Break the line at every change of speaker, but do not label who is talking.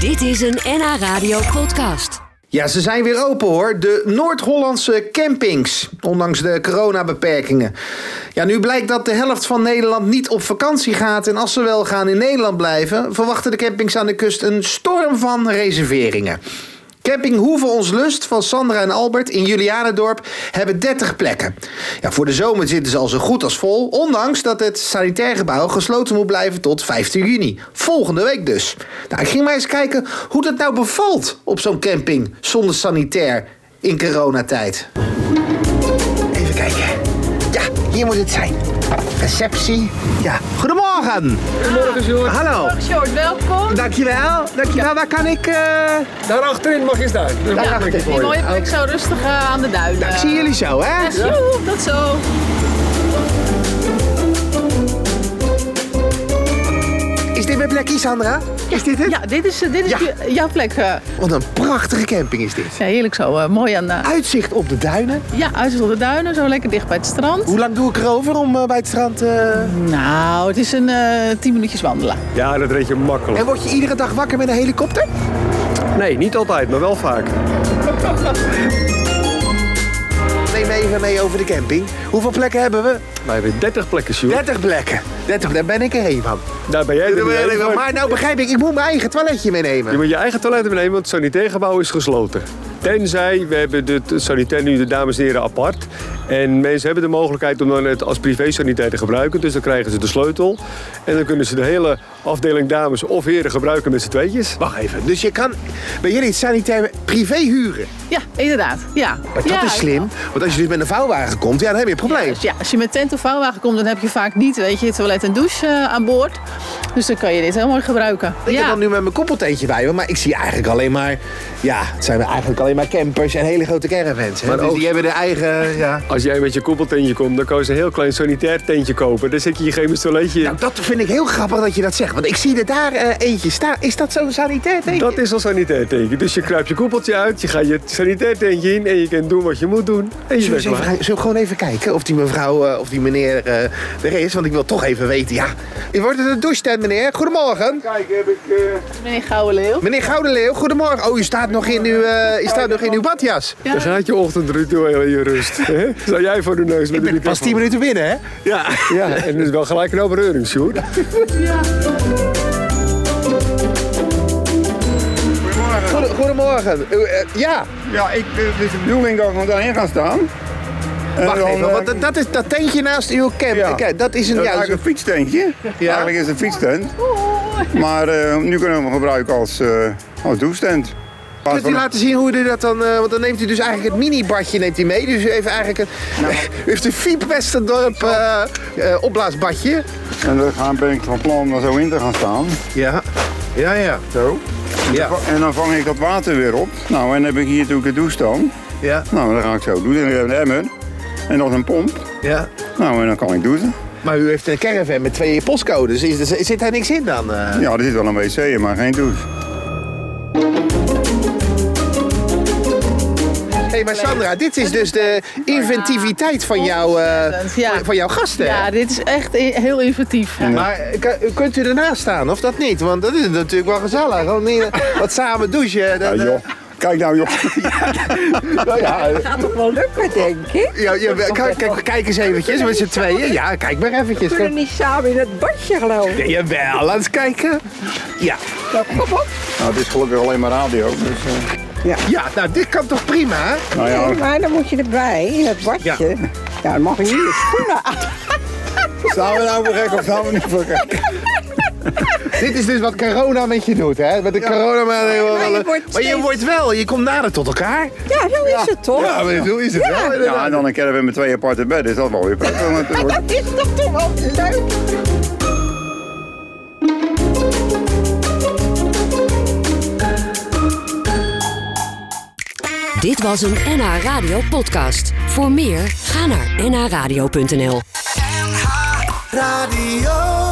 Dit is een NH Radio podcast.
Ja, ze zijn weer open hoor. De Noord-Hollandse campings. Ondanks de coronabeperkingen. Ja, nu blijkt dat de helft van Nederland niet op vakantie gaat. En als ze wel gaan in Nederland blijven, verwachten de campings aan de kust een storm van reserveringen. Camping Hoeve Ons Lust van Sandra en Albert in Julianendorp hebben 30 plekken. Ja, voor de zomer zitten ze al zo goed als vol, ondanks dat het sanitair gebouw gesloten moet blijven tot 15 juni. Volgende week dus. Nou, ik ging maar eens kijken hoe dat nou bevalt op zo'n camping zonder sanitair in coronatijd.
Even kijken. Ja, hier moet het zijn. Receptie. Ja.
Goedemorgen!
Goedemorgen, Sjoerd.
Hallo!
Short, welkom.
Dankjewel, dankjewel. Waar kan ik... eh,
Daarachterin mag je staan. Dus
Daarachter.
mag ik niet
Die
voor je.
mooie plek zo rustig eh, aan de duinen.
nou, ik zie jullie zo, hè?
Ja, sjoe, dat zo.
Is dit mijn plekje, Sandra? Is dit het?
Ja, dit is, eh, dit is
Ja.
je- jouw plek. eh.
Wat een prachtige camping is dit.
Ja, heerlijk zo. eh, mooi aan eh,
Uitzicht op de duinen.
ja, uitzicht op de duinen, zo lekker dicht bij het strand.
Hoe lang doe ik erover om eh, bij het strand... eh,
Nou, het is een eh tien minuutjes wandelen.
Ja, dat reed je makkelijk.
En word je iedere dag wakker met een helikopter?
Nee, niet altijd, maar wel vaak.
Neem even mee over de camping. Hoeveel plekken hebben we?
Wij hebben 30 plekken, Sjoerd.
30 plekken. 30, daar ben ik er één van.
Daar ben jij er niet één van.
Maar nou begrijp ik, ik moet mijn eigen toiletje
Je
meenemen.
moet je eigen toilet meenemen, want het sanitair gebouw is gesloten. Tenzij, we hebben de- het sanitair nu de dames en heren apart. En mensen hebben de mogelijkheid om dan het als privé sanitair te gebruiken. Dus dan krijgen ze de sleutel. En dan kunnen ze de hele afdeling dames of heren gebruiken met z'n tweetjes.
Wacht even, dus je kan bij jullie het sanitair privé huren.
Ja, inderdaad. Ja.
Maar dat
ja,
is slim, want als je dus met een vouwwagen komt, ja, dan heb je een probleem.
Dus ja, als je met tent of vouwwagen komt, dan heb je vaak niet, weet je, toilet en douche eh, aan boord. Dus dan kan je dit heel mooi gebruiken.
Ik heb
ja.
dan nu met mijn koppelteentje bij me, maar ik zie eigenlijk alleen maar... Ja, het zijn eigenlijk alleen maar campers en hele grote caravans. hè.
Maar
dus
ook-
die hebben de eigen... Ja.
Als jij met je koppeltentje komt, dan kan je een heel klein sanitair tentje kopen. Dan zit je je chemisch toiletje in.
Nou, dat vind ik heel grappig dat je dat zegt, want ik zie er daar eh, eentje staan. Is dat zo'n sanitair teentje?
Dat is al sanitair teken. Dus je kruipt je koepeltje uit, je gaat je sanitair tentje in en je kunt doen wat je moet doen. En je
Zullen
bent
we, eens even,
klaar.
gaan- zullen we gewoon even kijken of die mevrouw eh, of die meneer eh, er is? Want ik wil toch even weten, ja. Wordt het een douchetent, meneer? Goedemorgen.
Kijk, heb ik... eh,
Meneer Gouwenleeuw.
Meneer Gouden Leeuw, goedemorgen. Oh, u staat nog in uw, eh, u staat nog in uw badjas.
Dan gaat je ochtendritueel in je rust. hè? Zou jij voor de neus met
Ik ben pas 10 minuten binnen, hè?
Ja. ja, en dat is wel gelijk een overreuring, Sjoerd.
Goede- Goedemorgen. U, eh, ja,
Ja, ik, eh, het is de bedoeling dat we daarin gaan staan. En
wacht
dan,
even.
eh,
Want dat- dat, is, dat tentje naast uw camp,
Ja.
kijk, dat is een...
dat is
Ja, dat
eigenlijk
is een-
een fietstentje.
Ja.
Eigenlijk is het een fietstent. Maar eh, nu kunnen we hem gebruiken als, eh als douchetent.
Kunt u laten zien hoe u dat dan... eh, want dan neemt u dus eigenlijk het minibadje neemt u mee. Dus u heeft eigenlijk een... U heeft een Fiep Westendorp eh, eh, opblaasbadje.
En dan gaan- ben ik van plan om daar zo in te gaan staan.
Ja. Ja, ja.
Zo. En,
Ja.
dan, va- en dan vang ik dat water weer op. Nou, en dan heb ik hier natuurlijk een douche dan.
Ja,
Nou, dan ga ik zo douchen. En ik heb een emmer. En nog een pomp.
ja.
Nou, en dan kan ik douchen.
Maar u heeft een caravan met twee postcodes. Is, er- zit daar niks in dan? eh?
Ja, er zit wel een wc in, maar geen douche.
hey, maar Sandra, dit is dus de inventiviteit van, jouw, eh,
Ja.
van, van jouw gasten.
Ja, dit is echt i- heel inventief.
Maar eh, kan- kunt u ernaast staan of dat niet? Want dat is natuurlijk wel gezellig. Gewoon niet, eh, wat samen douchen.
Ja,
Dat, eh,
joh. Kijk nou, joh.
nou ja, eh,
gaat toch wel lukken, denk ik?
ja, ja, we- kijk, kijk, kijk eens eventjes met z'n tweeën. Ja, kijk maar eventjes.
We kunnen niet samen in het badje, geloof ik.
Ja, Jawel, laat eens kijken. Ja.
Nou, het is gelukkig alleen maar radio. Dus, eh,
ja, nou dit kan toch prima? hè?
nou ja,
Nee, maar dan moet je erbij, in het badje. Ja, dan mag je niet je schoenen aan.
Staan we nou voor gek of staan we niet voor gek?
Dit is dus wat corona met je doet, hè? Met de corona
maar je
maar,
wordt
je
steeds-
wordt wel, je komt nader tot elkaar.
Ja, zo is het toch?
Ja, maar zo is het wel.
Ja,
inderdaad.
en dan een caravan met twee aparte bedden is dat wel weer prettig natuurlijk.
Dat is toch toch wel leuk?
Dit was een NH Radio podcast. Voor meer, ga naar nhradio.nl.
Radio.